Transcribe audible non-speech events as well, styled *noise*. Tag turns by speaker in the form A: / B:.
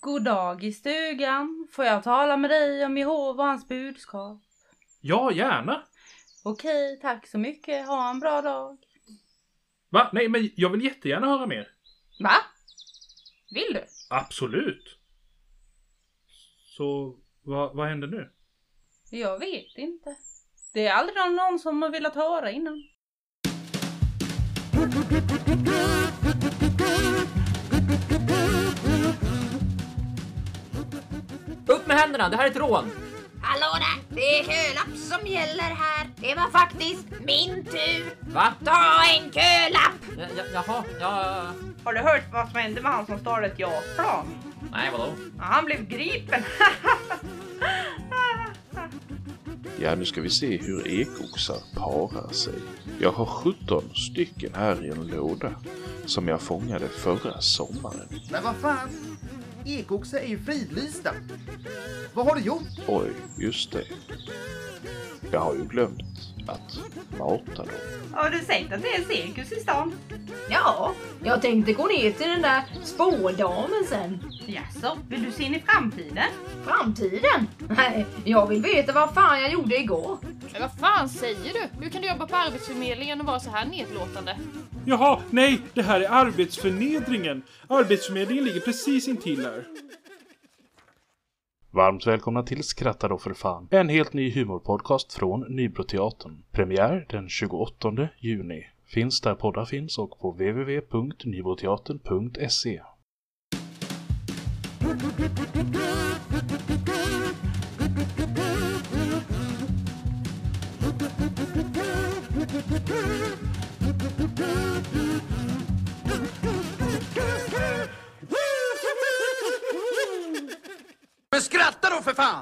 A: God dag i stugan. Får jag tala med dig om Jehova och hans budskap?
B: Ja, gärna.
A: Okej, tack så mycket. Ha en bra dag.
B: Va? Nej, men jag vill jättegärna höra mer.
A: Va? Vill du?
B: Absolut. Så, vad, vad händer nu?
A: Jag vet inte. Det är aldrig någon- någon som har velat höra innan.
C: Upp med händerna, det här är ett rån!
D: Hallå där! Det är kölapp som gäller här. Det var faktiskt min tur.
C: Va?
D: Ta en kölapp!
C: Ja, ja, jaha, ja...
E: Har du hört vad som hände med han som stal ett JAS-plan?
C: Nej, vadå?
E: Ja, han blev gripen. *laughs*
F: Ja, nu ska vi se hur ekoxar parar sig. Jag har 17 stycken här i en låda som jag fångade förra sommaren.
G: Men vad fan? Ekoxar är ju fridlysta. Vad har du gjort?
F: Oj, just det. Jag har ju glömt att mata dem.
E: Har du sett att det är cirkus i stan?
D: Ja, jag tänkte gå ner till den där spådamen sen.
E: Jaså, vill du se in i framtiden?
D: Framtiden? Nej, jag vill veta vad fan jag gjorde igår.
H: Men vad fan säger du? Hur kan du jobba på Arbetsförmedlingen och vara så här nedlåtande?
B: Jaha, nej, det här är arbetsförnedringen. Arbetsförmedlingen ligger precis intill här.
F: Varmt välkomna till Skratta då för fan. En helt ny humorpodcast från Nybroteatern. Premiär den 28 juni. Finns där poddar finns och på www.nybroteatern.se.
G: Men skratta då för fan!